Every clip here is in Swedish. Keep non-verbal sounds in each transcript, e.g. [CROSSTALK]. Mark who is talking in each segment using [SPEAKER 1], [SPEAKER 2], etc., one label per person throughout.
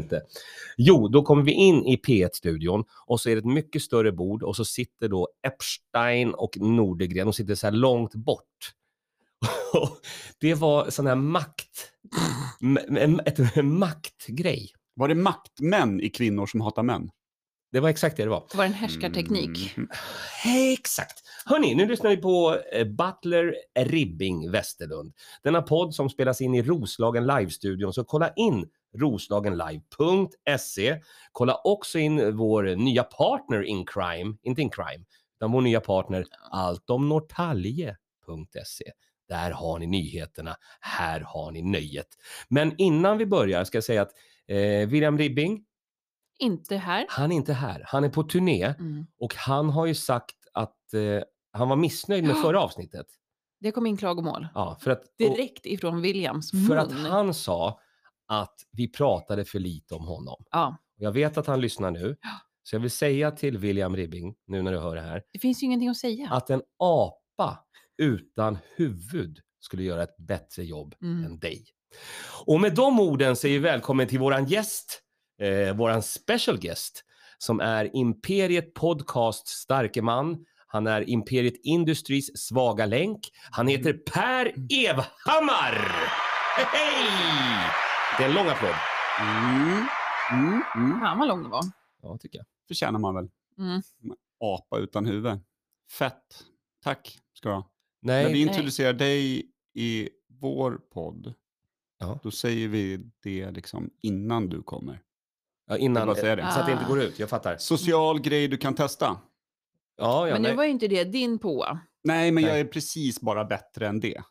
[SPEAKER 1] inte. Jo, då kommer vi in i P1-studion och så är det ett mycket större bord och så sitter då Epstein och Nordegren, de sitter så här långt bort. [LAUGHS] det var sån här makt, m- en, ett, en maktgrej.
[SPEAKER 2] Var det maktmän i Kvinnor som hatar män?
[SPEAKER 1] Det var exakt det det var.
[SPEAKER 3] Det var en härskarteknik.
[SPEAKER 2] Mm.
[SPEAKER 1] Hej, exakt. Hörni, nu lyssnar vi på eh, Butler Ribbing Westerlund. Denna podd som spelas in i Roslagen Live-studion, så kolla in roslagenlive.se. Kolla också in vår nya partner in crime, inte in crime, utan vår nya partner alltomnortalje.se. Där har ni nyheterna, här har ni nöjet. Men innan vi börjar ska jag säga att eh, William Ribbing,
[SPEAKER 3] Inte här.
[SPEAKER 1] han är inte här. Han är på turné.
[SPEAKER 3] Mm.
[SPEAKER 1] Och han har ju sagt att eh, han var missnöjd med förra avsnittet.
[SPEAKER 3] Det kom in klagomål.
[SPEAKER 1] Ja, för att, och,
[SPEAKER 3] Direkt ifrån Williams
[SPEAKER 1] för att
[SPEAKER 3] mun.
[SPEAKER 1] han sa att vi pratade för lite om honom.
[SPEAKER 3] Ja.
[SPEAKER 1] Jag vet att han lyssnar nu,
[SPEAKER 3] Ja.
[SPEAKER 1] så jag vill säga till William Ribbing, nu när du hör det här,
[SPEAKER 3] Det finns ju ingenting att säga.
[SPEAKER 1] att en apa utan huvud skulle göra ett bättre jobb
[SPEAKER 3] Mm.
[SPEAKER 1] än dig. Och med de orden säger vi välkommen till våran gäst, eh, våran special guest, som är Imperiet Podcast starke man. Han är Imperiet Industries svaga länk. Han
[SPEAKER 3] Mm.
[SPEAKER 1] heter Per Evhammar! Hej! Det är en lång applåd.
[SPEAKER 2] Mm. Mm. Mm.
[SPEAKER 3] Fan vad lång det var.
[SPEAKER 1] Ja, tycker jag.
[SPEAKER 2] Förtjänar man väl.
[SPEAKER 3] Mm.
[SPEAKER 2] Apa utan huvud. Fett. Tack ska du ha. När vi
[SPEAKER 1] Nej,
[SPEAKER 2] introducerar dig i vår podd,
[SPEAKER 1] Ja.
[SPEAKER 2] då säger vi det liksom innan du kommer.
[SPEAKER 1] ja,
[SPEAKER 2] Jag
[SPEAKER 1] innan.
[SPEAKER 2] bara
[SPEAKER 1] eh,
[SPEAKER 2] säger det.
[SPEAKER 1] Så att det inte går ut, jag fattar.
[SPEAKER 2] Social grej du kan testa.
[SPEAKER 1] Ja, ja,
[SPEAKER 3] Men nu
[SPEAKER 1] nej.
[SPEAKER 3] var ju inte det din påa.
[SPEAKER 2] Nej, men
[SPEAKER 1] Nej.
[SPEAKER 2] jag är precis bara bättre än det.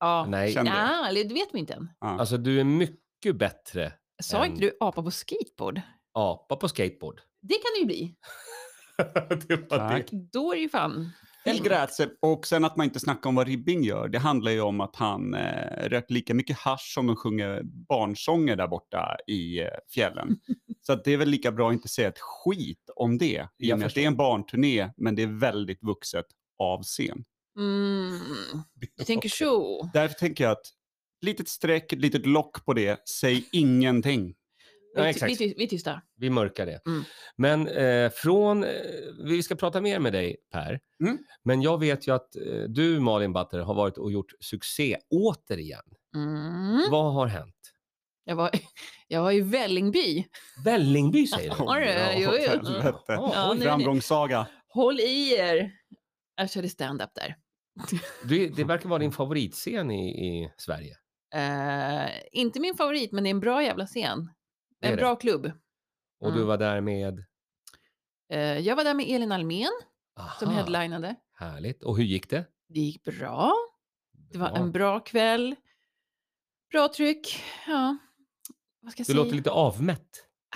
[SPEAKER 3] Ja.
[SPEAKER 1] nej.
[SPEAKER 2] Känn-
[SPEAKER 3] Ja, eller det vet vi inte än.
[SPEAKER 2] Ja.
[SPEAKER 1] Alltså du är mycket bättre
[SPEAKER 3] Sa
[SPEAKER 1] Än-
[SPEAKER 3] inte du apa på skateboard?
[SPEAKER 1] apa på
[SPEAKER 2] [LAUGHS]
[SPEAKER 1] skateboard.
[SPEAKER 3] Det kan det ju bli.
[SPEAKER 1] det var
[SPEAKER 2] Tack.
[SPEAKER 3] Då är det ju fan...
[SPEAKER 2] El
[SPEAKER 3] Mm.
[SPEAKER 2] grazie. Och sen att man inte snackar om vad Ribbing gör, det handlar ju om att han eh, rök lika mycket hasch som de sjunger barnsånger där borta i eh,
[SPEAKER 3] [LAUGHS]
[SPEAKER 2] fjällen. Så att det är väl lika bra att inte säga ett skit om det. I
[SPEAKER 1] Jag
[SPEAKER 2] och med att det är en barnturné, men det är väldigt vuxet av scen.
[SPEAKER 3] Mm. Du tänker så.
[SPEAKER 2] Därför tänker jag att litet streck, litet lock på det, säg ingenting.
[SPEAKER 1] Ja,
[SPEAKER 3] Vi-
[SPEAKER 1] exakt.
[SPEAKER 3] vi, ty- vi är tysta.
[SPEAKER 1] Vi mörkar det.
[SPEAKER 3] Mm.
[SPEAKER 1] Men eh, från, eh, vi ska prata mer med dig Per.
[SPEAKER 2] Mm.
[SPEAKER 1] Men jag vet ju att eh, du Malin Batter har varit och gjort succé återigen.
[SPEAKER 3] Mm.
[SPEAKER 1] Vad har hänt?
[SPEAKER 3] Jag, var, [LAUGHS] jag var i Vällingby.
[SPEAKER 1] Vällingby säger du?
[SPEAKER 3] [LAUGHS] Ja. Oj, oj, oj.
[SPEAKER 2] åt helvete.
[SPEAKER 1] Ja,
[SPEAKER 3] nej, nej.
[SPEAKER 2] Framgångssaga.
[SPEAKER 3] Håll i er. Jag körde stand-up där.
[SPEAKER 1] Du, det verkar vara din favoritscen i, i Sverige.
[SPEAKER 3] Eh, inte min favorit, men det är en bra jävla scen.
[SPEAKER 1] Det är
[SPEAKER 3] En
[SPEAKER 1] det.
[SPEAKER 3] bra klubb.
[SPEAKER 1] Och du
[SPEAKER 3] Mm.
[SPEAKER 1] var där med?
[SPEAKER 3] Eh, jag var där med Elin Almen som
[SPEAKER 1] Aha,
[SPEAKER 3] headlinade.
[SPEAKER 1] Härligt. Och hur gick det?
[SPEAKER 3] Det gick bra. Det var
[SPEAKER 1] Bra.
[SPEAKER 3] en bra kväll. Bra tryck. Ja. Vad ska jag
[SPEAKER 1] Du
[SPEAKER 3] säga?
[SPEAKER 1] låter lite avmätt.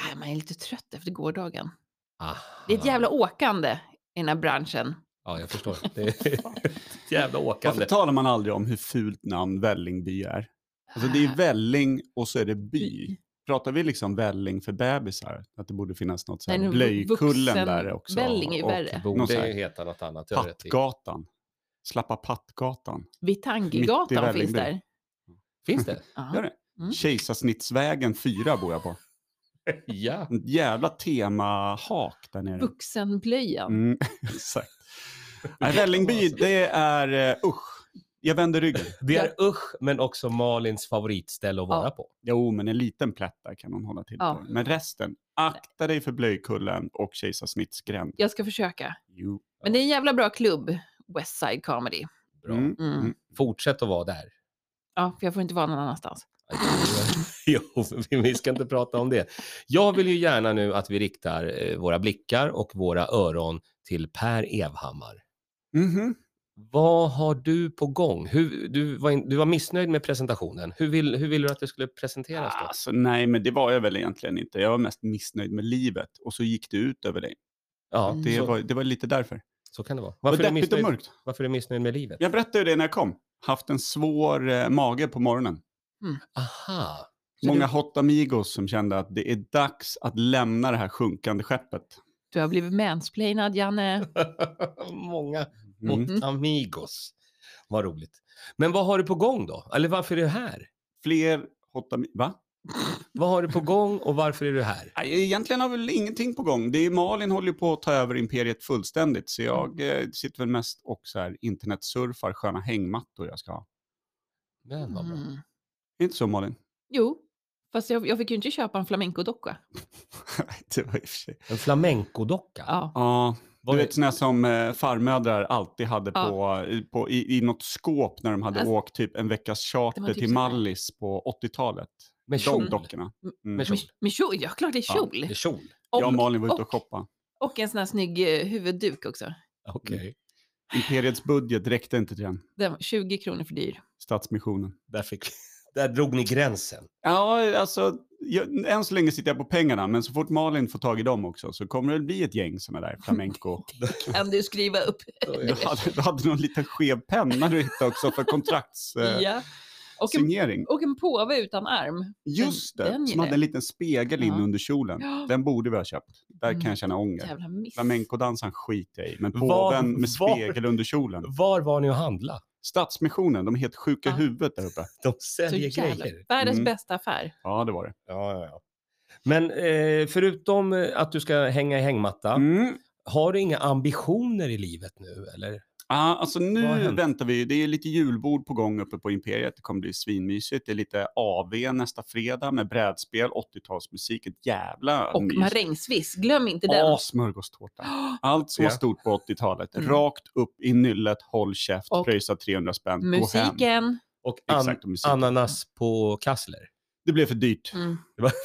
[SPEAKER 3] Nej, man är lite trött efter gårdagen.
[SPEAKER 1] Aha.
[SPEAKER 3] Det är ett jävla åkande i den här branschen.
[SPEAKER 1] Ja, jag
[SPEAKER 3] [LAUGHS]
[SPEAKER 1] förstår. Det är ett jävla
[SPEAKER 2] Varför
[SPEAKER 1] åkande.
[SPEAKER 2] talar man aldrig om hur fult namn Vällingby är? Alltså
[SPEAKER 3] Äh. Ah,
[SPEAKER 2] det är välling och så är det by. Pratar vi liksom välling för bebisar? Att det borde finnas något så
[SPEAKER 3] Nej,
[SPEAKER 2] här
[SPEAKER 3] nu,
[SPEAKER 2] blöjkullen
[SPEAKER 3] vuxen-
[SPEAKER 2] där också.
[SPEAKER 3] välling är ju
[SPEAKER 2] och
[SPEAKER 3] värre.
[SPEAKER 2] någon
[SPEAKER 1] Borde
[SPEAKER 2] så här
[SPEAKER 1] ju heta något annat. hör jag till.
[SPEAKER 2] Pattgatan. Slappa Pattgatan. mitt i
[SPEAKER 3] Vitangigatan finns
[SPEAKER 2] Vällingby.
[SPEAKER 3] där.
[SPEAKER 1] Finns det?
[SPEAKER 3] Ja.
[SPEAKER 2] Gör det?
[SPEAKER 3] Mm.
[SPEAKER 2] Kejsarsnittsvägen 4 bor jag på.
[SPEAKER 1] ja.
[SPEAKER 2] En jävla temahak där nere.
[SPEAKER 3] Vuxenblöjan.
[SPEAKER 2] Mm, [LAUGHS] exakt. Nej, Vällingby, det är eh, usch. Jag vänder ryggen.
[SPEAKER 1] Det är usch, men också Malins favoritställe att
[SPEAKER 3] Ja.
[SPEAKER 1] vara på.
[SPEAKER 2] Jo, men en liten plätt där kan hon hålla till
[SPEAKER 3] Ja.
[SPEAKER 2] på. Men resten, akta dig för blöjkullen och kejsarsnittsgränd.
[SPEAKER 3] Jag ska försöka.
[SPEAKER 2] Jo.
[SPEAKER 3] Men det är en jävla bra klubb, West Side Comedy.
[SPEAKER 1] Bra.
[SPEAKER 2] Mm.
[SPEAKER 3] Mm.
[SPEAKER 1] Fortsätt att vara där. [LAUGHS]
[SPEAKER 3] Ja, för jag får inte vara någon annanstans.
[SPEAKER 1] jo, vi- vi ska inte prata om det. Jag vill ju gärna nu att vi riktar eh, våra blickar och våra öron till Per Evhammar.
[SPEAKER 2] Mhm.
[SPEAKER 1] Vad har du på gång? Hur, du, var in, du var missnöjd med presentationen. Hur vill, hur vill du att det skulle presenteras då?
[SPEAKER 2] Alltså, nej, men det var jag väl egentligen inte. Jag var mest missnöjd med livet och så gick det ut över dig.
[SPEAKER 1] Ja,
[SPEAKER 3] Mm.
[SPEAKER 2] Det,
[SPEAKER 1] så,
[SPEAKER 2] var, det var lite därför.
[SPEAKER 1] så kan det vara.
[SPEAKER 2] Varför
[SPEAKER 1] Varför, är du
[SPEAKER 2] var deppigt och
[SPEAKER 1] missnöjd,
[SPEAKER 2] mörkt.
[SPEAKER 1] varför är du missnöjd med livet?
[SPEAKER 2] Jag berättade ju det när jag kom. Haft en svår eh, mage på morgonen.
[SPEAKER 1] Aha. [LAUGHS]
[SPEAKER 3] Så
[SPEAKER 2] Många hot amigos som kände att det är dags att lämna det här sjunkande skeppet.
[SPEAKER 3] Du har blivit mansplainad, Janne.
[SPEAKER 1] Många
[SPEAKER 2] Mm.
[SPEAKER 1] mot amigos. Vad roligt. Men vad har du på gång då? Eller varför är du här?
[SPEAKER 2] Fler hot amigos... Va?
[SPEAKER 1] Vad har du på gång och varför är du här?
[SPEAKER 2] Nej, Egentligen har väl ingenting på gång. Det är, Malin håller ju på att ta över imperiet fullständigt, så jag
[SPEAKER 1] Mm.
[SPEAKER 2] eh, sitter väl mest och så här internetsurfar sköna hängmattor jag ska ha.
[SPEAKER 1] Men vad bra.
[SPEAKER 3] Mm.
[SPEAKER 2] Inte så Malin? [LAUGHS]
[SPEAKER 3] Jo, fast jag, jag fick ju inte köpa en flamencodocka.
[SPEAKER 2] Nej, det var i och för sig.
[SPEAKER 1] En flamencodocka?
[SPEAKER 3] Ja.
[SPEAKER 2] Ja,
[SPEAKER 1] Vad
[SPEAKER 2] du
[SPEAKER 1] är-
[SPEAKER 2] vet såna som eh, farmödrar alltid hade
[SPEAKER 3] Ja.
[SPEAKER 2] på, i, på, i, i något skåp när de hade
[SPEAKER 3] Alltså-
[SPEAKER 2] åkt typ en veckas charter
[SPEAKER 3] Det var typ
[SPEAKER 2] till
[SPEAKER 3] så här.
[SPEAKER 2] Mallis på 80-talet.
[SPEAKER 1] med
[SPEAKER 2] De
[SPEAKER 1] kjol?
[SPEAKER 2] dockorna. Mm.
[SPEAKER 1] Med kjol?
[SPEAKER 3] Med kjol, ja klart det är
[SPEAKER 2] Ja,
[SPEAKER 3] kjol.
[SPEAKER 1] Med kjol?
[SPEAKER 2] Jag och
[SPEAKER 3] och,
[SPEAKER 2] Malin var ute och
[SPEAKER 3] och-
[SPEAKER 2] shoppa.
[SPEAKER 3] och en sån här snygg eh, huvudduk också.
[SPEAKER 1] Okej.
[SPEAKER 2] Mm. Imperiets budget räckte inte till den.
[SPEAKER 3] Den var 20 kronor för dyr.
[SPEAKER 2] Stadsmissionen.
[SPEAKER 1] Där, fick... Där drog ni
[SPEAKER 3] [LAUGHS]
[SPEAKER 1] gränsen.
[SPEAKER 2] Ja, alltså, jag, än så länge sitter jag på pengarna, men så fort Malin får tag i dem också så kommer det bli ett gäng sådana där
[SPEAKER 3] [LAUGHS]
[SPEAKER 2] flamenco.
[SPEAKER 3] Kan du skriva upp?
[SPEAKER 2] Du hade, du hade någon liten skev penna du hittade också
[SPEAKER 3] [LAUGHS]
[SPEAKER 2] för kontraktssignering.
[SPEAKER 3] Ja. Och, en, och en påve utan arm.
[SPEAKER 2] Just det,
[SPEAKER 3] den
[SPEAKER 2] som
[SPEAKER 3] gillar
[SPEAKER 2] hade en liten spegel in
[SPEAKER 3] Ja.
[SPEAKER 2] under kjolen.
[SPEAKER 3] Ja.
[SPEAKER 2] Den borde vi ha köpt. Där kan
[SPEAKER 3] Mm.
[SPEAKER 2] jag känna ånger.
[SPEAKER 3] Jävla miss.
[SPEAKER 2] Flamencodansaren skiter jag i, men
[SPEAKER 1] Var-
[SPEAKER 2] påven med
[SPEAKER 1] var-
[SPEAKER 2] spegel under kjolen.
[SPEAKER 1] Var var ni och handla?
[SPEAKER 2] Stadsmissionen, de är helt sjuka i
[SPEAKER 3] Ja.
[SPEAKER 2] huvudet där uppe.
[SPEAKER 1] De
[SPEAKER 3] Så
[SPEAKER 1] säljer
[SPEAKER 3] jävla,
[SPEAKER 1] grejer.
[SPEAKER 3] världens
[SPEAKER 2] Mm.
[SPEAKER 3] bästa affär.
[SPEAKER 2] Ja, det var det.
[SPEAKER 1] Ja, ja, ja. Men eh, förutom eh, att du ska hänga i hängmatta,
[SPEAKER 2] Mm.
[SPEAKER 1] har du inga ambitioner i livet nu? Eller?
[SPEAKER 2] Ja, alltså
[SPEAKER 1] Vad har
[SPEAKER 2] nu
[SPEAKER 1] hänt?
[SPEAKER 2] väntar vi. ju. Det är lite julbord på gång uppe på Imperiet. Det kommer bli svinmysigt. Det är lite AV nästa fredag med brädspel, 80-talsmusik, ett jävla
[SPEAKER 3] Och
[SPEAKER 2] mys.
[SPEAKER 3] marängsviss, glöm inte den.
[SPEAKER 2] Ja, smörgåstårta. Allt som
[SPEAKER 1] Ja.
[SPEAKER 2] var stort på 80-talet.
[SPEAKER 3] Mm.
[SPEAKER 2] Rakt upp i nyllet, håll käft,
[SPEAKER 3] Och
[SPEAKER 2] pröjsa 300 spänn, gå hem.
[SPEAKER 3] Musiken.
[SPEAKER 1] Och an-
[SPEAKER 2] Exakt, och musiken.
[SPEAKER 1] ananas på kassler?
[SPEAKER 2] Det blev för dyrt.
[SPEAKER 3] Mm.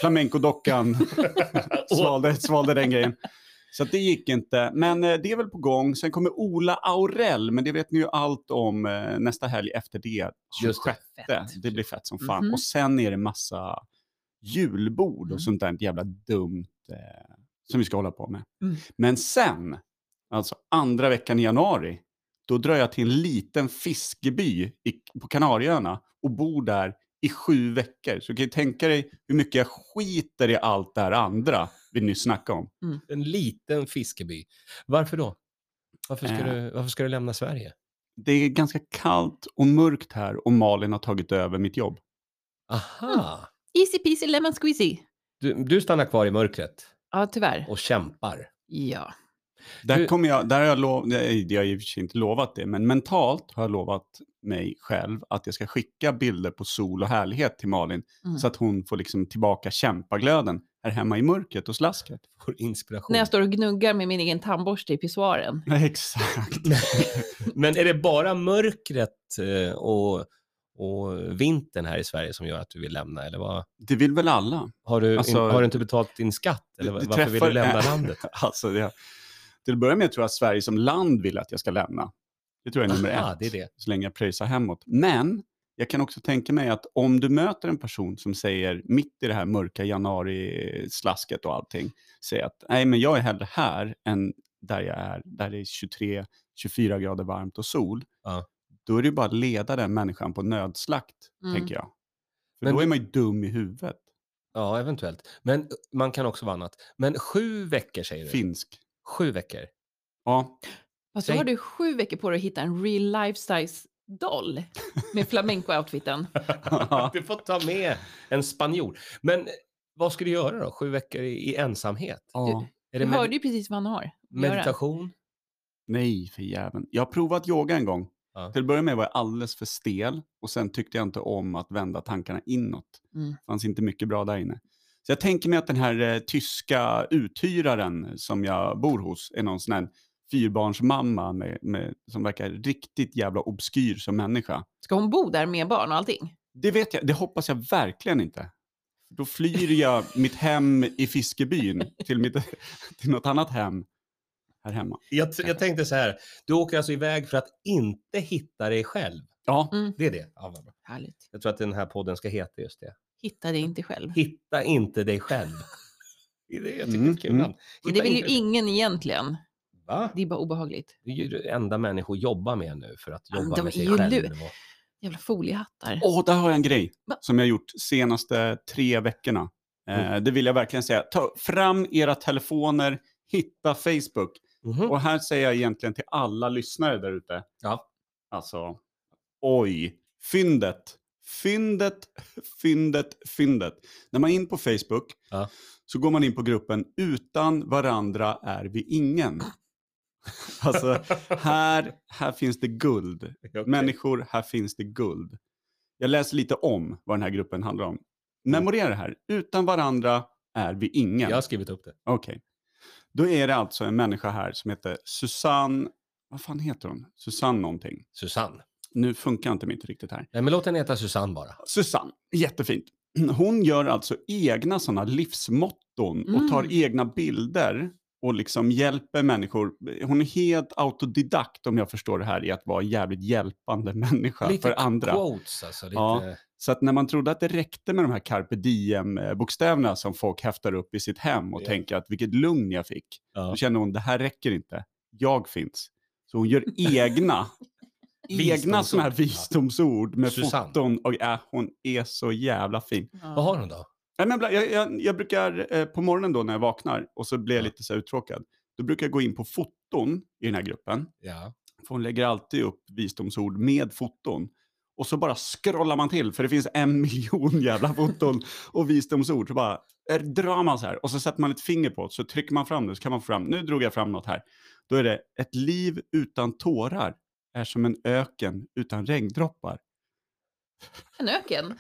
[SPEAKER 2] Flamencodockan svalde, svalde den grejen. Så att det gick inte. Men eh, det är väl på gång. Sen kommer Ola Aurell, men det vet ni ju allt om eh, nästa helg efter det.
[SPEAKER 1] Just det.
[SPEAKER 2] 26. Det, det blir fett som fan.
[SPEAKER 3] Mhm.
[SPEAKER 2] Och sen är det massa julbord
[SPEAKER 3] Mm.
[SPEAKER 2] och sånt där jävla dumt eh, som vi ska hålla på med.
[SPEAKER 3] Mm.
[SPEAKER 2] Men sen, alltså andra veckan i januari, då drar jag till en liten fiskeby i, på Kanarieöarna och bor där i sju veckor. Så du kan ju tänka dig hur mycket jag skiter i allt det här andra vi nyss snackade om.
[SPEAKER 1] En liten fiskeby. Varför då? Varför ska,
[SPEAKER 2] Eh.
[SPEAKER 1] du, varför ska du lämna Sverige?
[SPEAKER 2] Det är ganska kallt och mörkt här och Malin har tagit över mitt jobb. Mm.
[SPEAKER 1] Aha!
[SPEAKER 3] Easy peasy lemon squeezy.
[SPEAKER 1] Du, du stannar kvar i mörkret
[SPEAKER 3] Ja, tyvärr.
[SPEAKER 1] och kämpar.
[SPEAKER 3] Ja.
[SPEAKER 2] Där,
[SPEAKER 1] Du-
[SPEAKER 2] kommer jag, där har jag, lov, nej, jag har i och för sig inte lovat det, men mentalt har jag lovat mig själv att jag ska skicka bilder på sol och härlighet till Malin
[SPEAKER 3] Mm.
[SPEAKER 2] så att hon får liksom tillbaka kämpaglöden här hemma i mörkret
[SPEAKER 1] [LAUGHS]
[SPEAKER 2] och slasket.
[SPEAKER 1] Får inspiration.
[SPEAKER 3] När jag står och gnuggar med min egen tandborste i pissoaren.
[SPEAKER 2] Exakt.
[SPEAKER 1] Men är det bara mörkret eh, och, och vintern här i Sverige som gör att du vill lämna? Eller vad?
[SPEAKER 2] Det vill väl alla?
[SPEAKER 1] Har, du,
[SPEAKER 2] Alltså-
[SPEAKER 1] har du inte betalt din skatt? Eller
[SPEAKER 2] Det- det
[SPEAKER 1] varför vill du
[SPEAKER 2] träffar- [LAUGHS]
[SPEAKER 1] lämna landet?
[SPEAKER 2] Alltså det, till att börja med tror jag att Sverige som land vill att jag ska lämna. Det tror jag är nummer
[SPEAKER 1] Aha,
[SPEAKER 2] ett,
[SPEAKER 1] det är det.
[SPEAKER 2] så länge jag pröjsar hemåt. Men jag kan också tänka mig att om du möter en person som säger mitt i det här mörka januari-slasket och allting, säger att nej men jag är hellre här än där jag är, där det är 23-24 grader varmt och sol.
[SPEAKER 1] Ja.
[SPEAKER 2] Då är det ju bara att leda den människan på nödslakt,
[SPEAKER 3] Mm.
[SPEAKER 2] tänker jag. För
[SPEAKER 1] Men
[SPEAKER 2] då
[SPEAKER 1] vi-
[SPEAKER 2] är man ju dum i huvudet.
[SPEAKER 1] Ja, eventuellt. Men man kan också vara annat. Men sju veckor säger du?
[SPEAKER 2] Finsk.
[SPEAKER 1] Sju veckor.
[SPEAKER 2] Ja, [LAUGHS]
[SPEAKER 3] Fast då
[SPEAKER 1] Säg-
[SPEAKER 3] har du sju veckor på dig att hitta en real life size doll med flamenco-outfiten.
[SPEAKER 1] Du får ta med en spanjor. Men eh, vad ska du göra då? Sju veckor i, i ensamhet?
[SPEAKER 2] ja.
[SPEAKER 1] Är
[SPEAKER 3] Du
[SPEAKER 1] det med-
[SPEAKER 3] hörde ju precis vad han har. att göra.
[SPEAKER 1] meditation?
[SPEAKER 2] Nej, för jäveln. Jag har provat yoga en gång.
[SPEAKER 1] Ja.
[SPEAKER 2] Till att börja med var jag alldeles för stel och sen tyckte jag inte om att vända tankarna inåt.
[SPEAKER 3] Mm.
[SPEAKER 2] Det fanns inte mycket bra där inne. Så jag tänker mig att den här eh, tyska uthyraren som jag bor hos är någon sån här fyrbarnsmamma med, med, som verkar riktigt jävla obskyr som människa.
[SPEAKER 3] Ska hon bo där med barn och allting?
[SPEAKER 2] Det vet jag, det hoppas jag verkligen inte. Då flyr jag mitt hem i Fiskebyn till, mitt, [LAUGHS] till något annat hem här hemma.
[SPEAKER 1] Jag, t- jag tänkte så här, du åker alltså iväg för att inte hitta dig själv.
[SPEAKER 2] Ja,
[SPEAKER 1] Det är det. Ja, vad bra.
[SPEAKER 3] Härligt.
[SPEAKER 1] jag tror att den här podden ska heta just det.
[SPEAKER 3] Hitta dig inte själv.
[SPEAKER 1] Hitta inte dig själv. [LAUGHS] Det är det jag tycker är
[SPEAKER 2] Mm,
[SPEAKER 1] ett kul
[SPEAKER 2] mm.
[SPEAKER 1] namn.
[SPEAKER 3] Men
[SPEAKER 1] Hitta
[SPEAKER 3] det vill ju
[SPEAKER 1] inte-
[SPEAKER 3] ingen egentligen.
[SPEAKER 1] Va?
[SPEAKER 3] Det är bara obehagligt.
[SPEAKER 1] Det är ju det enda människor jobbar med nu för att
[SPEAKER 3] Ja, men
[SPEAKER 1] jobba
[SPEAKER 3] de
[SPEAKER 1] med
[SPEAKER 3] är
[SPEAKER 1] sig
[SPEAKER 3] ju
[SPEAKER 1] själv.
[SPEAKER 3] lu-
[SPEAKER 1] och-
[SPEAKER 3] Jävla foliehattar.
[SPEAKER 2] Åh, där har jag en grej
[SPEAKER 3] Va?
[SPEAKER 2] som jag gjort senaste tre veckorna. Eh, det vill jag verkligen säga. Ta fram era telefoner, hitta Facebook.
[SPEAKER 1] Mhm.
[SPEAKER 2] Och här säger jag egentligen till alla lyssnare där ute.
[SPEAKER 1] Ja.
[SPEAKER 2] Alltså, oj, fyndet. Fyndet, fyndet, fyndet. När man är in på Facebook
[SPEAKER 1] Ja.
[SPEAKER 2] så går man in på gruppen Utan varandra är vi ingen. Alltså, här, här finns det guld.
[SPEAKER 1] [LAUGHS] Okej.
[SPEAKER 2] Människor, här finns det guld. Jag läser lite om vad den här gruppen handlar om. Memorera det här. Utan varandra är vi ingen.
[SPEAKER 1] Jag har skrivit upp det.
[SPEAKER 2] Okej. Då är det alltså en människa här som heter Susanne... Vad fan heter hon? Susanne någonting.
[SPEAKER 1] Susanne.
[SPEAKER 2] Nu funkar inte mitt riktigt här.
[SPEAKER 1] Nej, men låt henne heta Susanne bara.
[SPEAKER 2] Susanne, jättefint. Hon gör alltså egna sådana livsmotton och tar
[SPEAKER 3] Mm.
[SPEAKER 2] egna bilder och liksom hjälper människor. Hon är helt autodidakt om jag förstår det här i att vara en jävligt hjälpande människa
[SPEAKER 1] Lite
[SPEAKER 2] för andra.
[SPEAKER 1] Quotes alltså. Lite...
[SPEAKER 2] Ja. Så att när man trodde att det räckte med de här carpe diem-bokstäverna som folk häftar upp i sitt hem och
[SPEAKER 1] Ja.
[SPEAKER 2] tänker att vilket lugn jag fick,
[SPEAKER 1] Ja.
[SPEAKER 2] då känner hon det här räcker inte. Jag finns. Så hon gör
[SPEAKER 1] [LAUGHS]
[SPEAKER 2] egna, egna
[SPEAKER 1] Visdomsord.
[SPEAKER 2] sådana här visdomsord med
[SPEAKER 1] Susanne.
[SPEAKER 2] foton. Och ja, hon är så jävla fin.
[SPEAKER 3] Ja.
[SPEAKER 1] Vad har hon då?
[SPEAKER 2] Nej, men ibland- jag, jag, jag brukar eh, på morgonen då när jag vaknar och så blir jag lite så här uttråkad. Då brukar jag gå in på foton i den här gruppen.
[SPEAKER 1] Ja.
[SPEAKER 2] För hon lägger alltid upp visdomsord med foton. Och så bara scrollar man till, för det finns en [LAUGHS] miljon jävla foton och visdomsord. Så bara eh, drar man så här och så sätter man ett finger på det, så trycker man fram det, så kan man få fram, nu drog jag fram något här. Då är det, ett liv utan tårar är som en öken utan regndroppar.
[SPEAKER 3] En öken.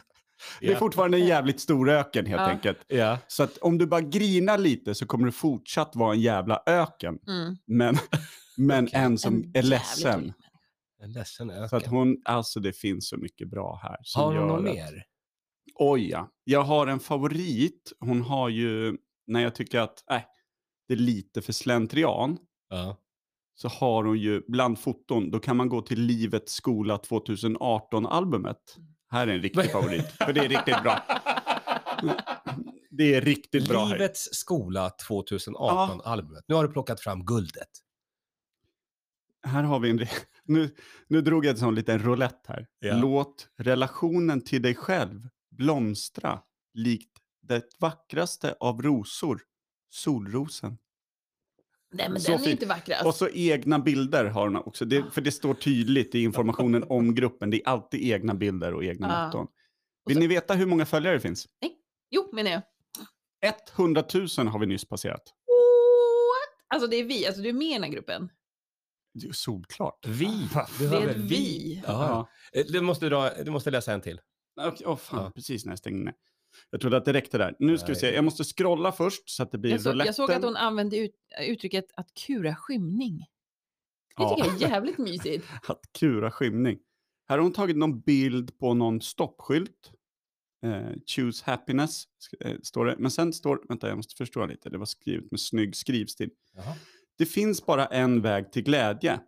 [SPEAKER 2] Det är
[SPEAKER 1] Ja.
[SPEAKER 2] fortfarande en jävligt stor öken helt
[SPEAKER 3] Ja.
[SPEAKER 2] enkelt.
[SPEAKER 1] Ja.
[SPEAKER 2] Så att om du bara grinar lite så kommer du fortsatt vara en jävla öken.
[SPEAKER 3] Mm.
[SPEAKER 2] Men, men
[SPEAKER 1] Okej.
[SPEAKER 2] en som
[SPEAKER 3] En typ.
[SPEAKER 2] är
[SPEAKER 3] jävligt
[SPEAKER 2] ledsen.
[SPEAKER 3] dålig
[SPEAKER 1] En ledsen
[SPEAKER 2] Så att
[SPEAKER 1] öken.
[SPEAKER 2] hon, alltså det finns så mycket bra här. som
[SPEAKER 1] Har hon
[SPEAKER 2] gör
[SPEAKER 1] något
[SPEAKER 2] att-
[SPEAKER 1] mer?
[SPEAKER 2] Oj ja. Jag har en favorit. Hon har ju, när jag tycker att äh, det är lite för slentrian,
[SPEAKER 1] Ja.
[SPEAKER 2] så har hon ju bland foton, då kan man gå till Livets skola 2018-albumet. Här är en riktig favorit, för det är
[SPEAKER 1] [LAUGHS]
[SPEAKER 2] riktigt bra. Det är riktigt bra. här.
[SPEAKER 1] Livets skola 2018-albumet. Nu har du plockat fram guldet.
[SPEAKER 2] Här har vi en... re- [LAUGHS] Nu, nu drog jag en sån liten roulette här.
[SPEAKER 1] Ja.
[SPEAKER 2] Låt relationen till dig själv blomstra likt det vackraste av rosor, solrosen.
[SPEAKER 3] Nej men
[SPEAKER 2] Så
[SPEAKER 3] den är
[SPEAKER 2] fin.
[SPEAKER 3] inte vackrast.
[SPEAKER 2] Och så egna bilder har hon också. Det, för det står tydligt i informationen
[SPEAKER 3] [LAUGHS]
[SPEAKER 2] om gruppen. Det är alltid egna bilder och egna
[SPEAKER 3] Ja.
[SPEAKER 2] motton. Vill ni veta hur många följare det finns?
[SPEAKER 3] Jo menar jag.
[SPEAKER 2] 100 000 har vi nyss passerat.
[SPEAKER 3] What? Alltså det är vi, alltså du är med i den här gruppen.
[SPEAKER 2] Det är ju solklart.
[SPEAKER 1] Vi.
[SPEAKER 3] Det
[SPEAKER 1] behöver
[SPEAKER 3] är ett vi.
[SPEAKER 1] Ja. Eh, Du, måste dra, du måste läsa en till.
[SPEAKER 2] Ja. Okej, åh, fan,
[SPEAKER 1] Ja.
[SPEAKER 2] precis när jag stängde ner. Jag trodde att det räckte där. Nu ska vi
[SPEAKER 1] Nej.
[SPEAKER 2] se. Jag måste scrolla först så att det blir
[SPEAKER 3] Jag, så,
[SPEAKER 2] rouletten.
[SPEAKER 3] jag såg att hon använde ut, uttrycket att kura skymning. Det
[SPEAKER 2] Ja.
[SPEAKER 3] tycker jag är jävligt mysigt.
[SPEAKER 2] [LAUGHS] att kura skymning. Här har hon tagit någon bild på någon stoppskylt. Eh, choose happiness, sk- eh, står det. Men sen står, vänta jag måste förstå lite, det var skrivet med snygg skrivstil.
[SPEAKER 1] Jaha.
[SPEAKER 2] Det finns bara en väg till glädje.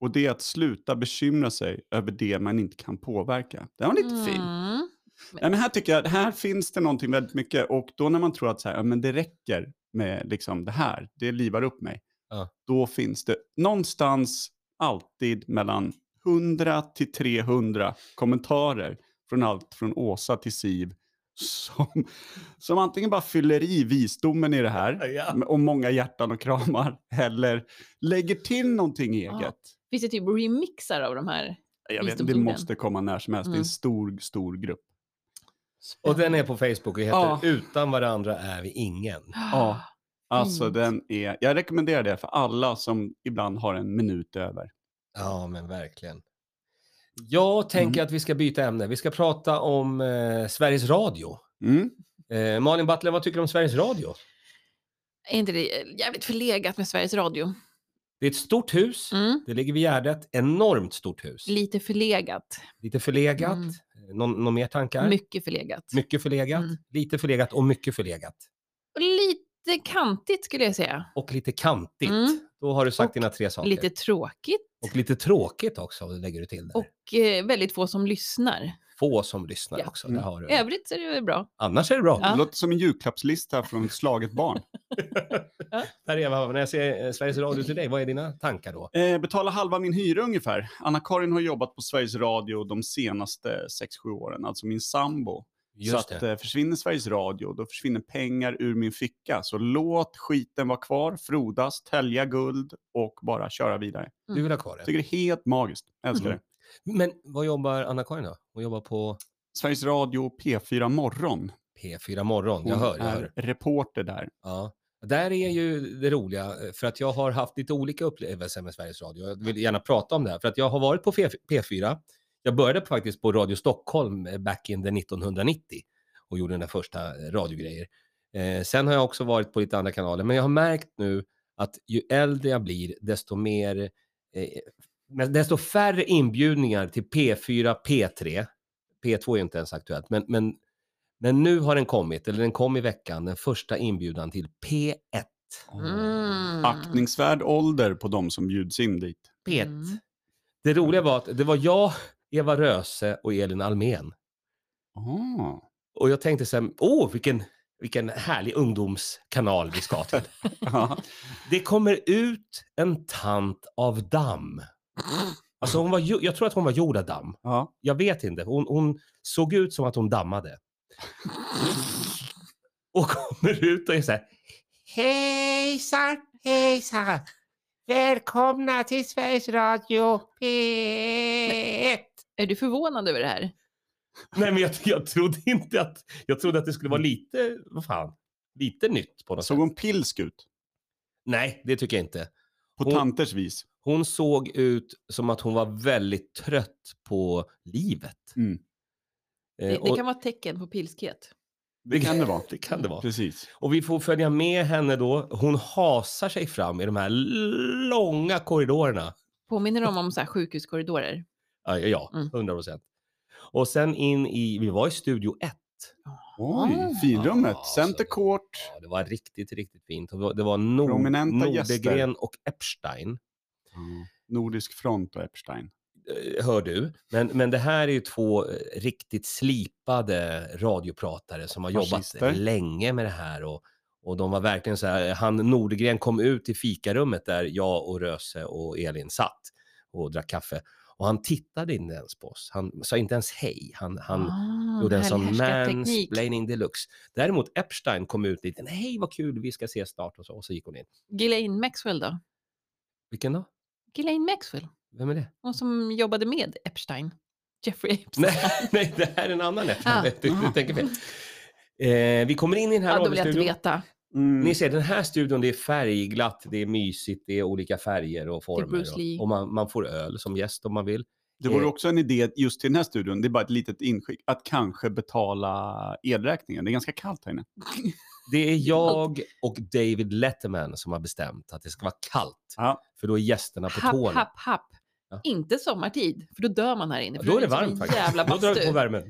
[SPEAKER 2] Och det är att sluta bekymra sig över det man inte kan påverka. Den var lite fin.
[SPEAKER 3] Mm.
[SPEAKER 2] Nej, men här tycker jag, här finns det någonting väldigt mycket. Och då när man tror att så här, ja, men det räcker med liksom det här, det livar upp mig.
[SPEAKER 1] Ja.
[SPEAKER 2] Då finns det någonstans alltid mellan 100 till 300 kommentarer från allt från Åsa till Siv som, som antingen bara fyller i visdomen i det här
[SPEAKER 1] Ja.
[SPEAKER 2] och många hjärtan och kramar eller lägger till någonting eget.
[SPEAKER 3] Finns det typ remixar av de här?
[SPEAKER 2] Jag vet, det
[SPEAKER 3] visdomsorden.
[SPEAKER 2] måste komma när som helst. Det är
[SPEAKER 3] Mm.
[SPEAKER 2] en stor, stor grupp.
[SPEAKER 1] Och den är på Facebook och heter
[SPEAKER 2] Ja.
[SPEAKER 1] Utan varandra är vi ingen.
[SPEAKER 2] Ja. Alltså
[SPEAKER 3] Fint.
[SPEAKER 2] den är, jag rekommenderar det för alla som ibland har en minut över.
[SPEAKER 1] Ja, men verkligen. Mm. Jag tänker att vi ska byta ämne. Vi ska prata om eh, Sveriges Radio.
[SPEAKER 2] Mm.
[SPEAKER 1] Eh, Malin Battler, vad tycker du om Sveriges Radio?
[SPEAKER 3] [GASPS] Är inte det jävligt förlegat med Sveriges Radio?
[SPEAKER 1] Det är ett stort hus.
[SPEAKER 3] Mm.
[SPEAKER 1] Det ligger vid Gärdet. Enormt stort hus.
[SPEAKER 3] Lite förlegat.
[SPEAKER 1] Lite förlegat. Eh,
[SPEAKER 3] Mm.
[SPEAKER 1] Någon, någon mer tankar?
[SPEAKER 3] Mycket förlegat.
[SPEAKER 1] mycket förlegat.
[SPEAKER 3] Mm.
[SPEAKER 1] Lite förlegat och mycket förlegat.
[SPEAKER 3] Och Lite kantigt skulle jag säga.
[SPEAKER 1] Och lite kantigt.
[SPEAKER 3] Mm.
[SPEAKER 1] Då har du sagt
[SPEAKER 3] Och
[SPEAKER 1] dina tre saker.
[SPEAKER 3] Lite tråkigt
[SPEAKER 1] Och lite tråkigt också, lägger du till där.
[SPEAKER 3] och eh, väldigt få som lyssnar.
[SPEAKER 1] Få som lyssnar
[SPEAKER 3] Ja.
[SPEAKER 1] också. Det
[SPEAKER 2] Mm.
[SPEAKER 1] har du.
[SPEAKER 3] I övrigt så är det väl bra.
[SPEAKER 1] Annars är det bra.
[SPEAKER 3] Ja.
[SPEAKER 1] [LAUGHS]
[SPEAKER 2] Det låter som en julklappslista från ett slaget barn.
[SPEAKER 1] Per Eva, när jag ser eh, Sveriges Radio till dig, vad är dina tankar då?
[SPEAKER 2] Eh, betala halva min hyra ungefär. Anna-Karin har jobbat på Sveriges Radio de senaste 6-7 åren, alltså min sambo. så
[SPEAKER 1] Just
[SPEAKER 2] att,
[SPEAKER 1] det.
[SPEAKER 2] eh, försvinner Sveriges Radio, då försvinner pengar ur min ficka. Så låt skiten vara kvar, frodas, tälja guld och bara köra vidare.
[SPEAKER 1] Du vill ha kvar det.
[SPEAKER 2] Tycker det är helt magiskt. Älskar
[SPEAKER 1] Mm. Men vad jobbar Anna-Karin då? Hon jobbar på...
[SPEAKER 2] Sveriges Radio P4 Morgon.
[SPEAKER 1] P4 Morgon, jag
[SPEAKER 2] Hon
[SPEAKER 1] hör, jag
[SPEAKER 2] är
[SPEAKER 1] hör.
[SPEAKER 2] reporter där.
[SPEAKER 1] Ja. Där är ju det roliga, eh, för att jag har haft lite olika upplevelser med Sveriges Radio. Jag vill gärna prata om det här, för att jag har varit på P4. Jag började faktiskt på Radio Stockholm eh, back in the 1990 och gjorde den där första eh, radiogrejer. Eh, sen har jag också varit på lite andra kanaler, men jag har märkt nu att ju äldre jag blir, desto mer, eh, men desto färre inbjudningar till P4, P3. P2 är ju inte ens aktuellt, men, men men nu har den kommit, eller den kom i veckan, den första inbjudan till P1.
[SPEAKER 3] Mm.
[SPEAKER 2] Aktningsvärd ålder på de som bjuds in dit.
[SPEAKER 1] P1.
[SPEAKER 3] Mm.
[SPEAKER 1] Det roliga var att det var jag, Eva Röse och Elin Almen.
[SPEAKER 2] Ah.
[SPEAKER 1] Och jag tänkte sen, åh vilken, vilken härlig ungdomskanal vi ska till.
[SPEAKER 2] Ja.
[SPEAKER 1] [LAUGHS] det kommer ut en tant av damm. Alltså hon var, ju- jag tror att hon var gjord av damm.
[SPEAKER 2] Ja.
[SPEAKER 1] Jag vet inte. Hon, hon såg ut som att hon dammade. Och kommer ut och är så här. Hejsan, hejsan. Välkomna till Sveriges Radio P1.
[SPEAKER 3] Är du förvånad över det här?
[SPEAKER 1] Nej, men jag, jag trodde inte att... Jag trodde att det skulle vara lite, vad fan, lite nytt på något
[SPEAKER 2] Såg
[SPEAKER 1] sätt.
[SPEAKER 2] hon pilsk ut?
[SPEAKER 1] Nej, det tycker jag inte.
[SPEAKER 2] På
[SPEAKER 1] Hon-
[SPEAKER 2] tanters vis.
[SPEAKER 1] Hon såg ut som att hon var väldigt trött på livet.
[SPEAKER 2] Mm.
[SPEAKER 1] Eh,
[SPEAKER 3] Det, det
[SPEAKER 1] och-
[SPEAKER 3] kan vara ett tecken på pilskhet.
[SPEAKER 2] Det kan det vara.
[SPEAKER 1] [LAUGHS] Det kan det vara.
[SPEAKER 2] Precis.
[SPEAKER 1] Och vi får följa med henne då. Hon hasar sig fram i de här långa korridorerna.
[SPEAKER 3] Påminner de om så här sjukhuskorridorer?
[SPEAKER 1] Ja, Ja,
[SPEAKER 3] Mm.
[SPEAKER 1] hundra procent. Och sen in i, vi var i studio 1.
[SPEAKER 2] Oj,
[SPEAKER 3] Ah.
[SPEAKER 2] finrummet.
[SPEAKER 1] Ja,
[SPEAKER 2] Center
[SPEAKER 1] så-
[SPEAKER 2] Court.
[SPEAKER 1] Ja, det var riktigt, riktigt fint. Och Det var Nord,
[SPEAKER 2] Prominenta gäster.
[SPEAKER 1] Nordegren och Epstein,
[SPEAKER 2] Nordisk front och Epstein.
[SPEAKER 1] eh, hör du. Men, men det här är ju två eh, riktigt slipade radiopratare som har
[SPEAKER 2] Fascister.
[SPEAKER 1] jobbat länge med det här. Och, och de var verkligen så här, eh, han Nordegren kom ut i fikarummet där jag och Röse och Elin satt och drack kaffe. Och han tittade inte ens på oss. Han sa inte ens hej. Han, han,
[SPEAKER 3] ah,
[SPEAKER 1] gjorde en
[SPEAKER 3] härlig
[SPEAKER 1] sån
[SPEAKER 3] härskarteknik.
[SPEAKER 1] mansplaining deluxe. Däremot Epstein kom ut lite, hej vad kul, vi ska ses snart och så, och så gick hon in.
[SPEAKER 3] Ghislaine Maxwell då?
[SPEAKER 1] Vilken då?
[SPEAKER 3] Ghislaine Maxwell,
[SPEAKER 1] Vem är det?
[SPEAKER 3] hon som jobbade med Epstein. Jeffrey Epstein.
[SPEAKER 1] Nej, [LAUGHS] nej det här är en annan Epstein.
[SPEAKER 3] Ah.
[SPEAKER 1] Du, du tänker fel. Eh, vi kommer in i den här
[SPEAKER 3] Ja, då vill jag inte
[SPEAKER 1] radiostudion.
[SPEAKER 3] veta.
[SPEAKER 2] Mm.
[SPEAKER 1] Ni ser, den här studion det är färgglatt, det är mysigt, det är olika färger och former.
[SPEAKER 3] Bruce Lee.
[SPEAKER 1] Och, och man, man får öl som gäst om man vill.
[SPEAKER 2] Det vore
[SPEAKER 1] Eh.
[SPEAKER 2] också en idé just till den här studion, det är bara ett litet inskick, att kanske betala elräkningen. Det är ganska kallt här inne.
[SPEAKER 1] Det är jag och David Letterman som har bestämt att det ska vara kallt.
[SPEAKER 2] Ja.
[SPEAKER 1] För då är gästerna på
[SPEAKER 3] Happ,
[SPEAKER 1] tårna.
[SPEAKER 3] happ, happ.
[SPEAKER 1] Ja.
[SPEAKER 3] Inte sommartid, för då dör man här inne. för
[SPEAKER 1] Då är det
[SPEAKER 3] som en
[SPEAKER 1] varmt faktiskt.
[SPEAKER 3] Jävla
[SPEAKER 1] Då drar vi på
[SPEAKER 3] bastu.
[SPEAKER 1] värmen.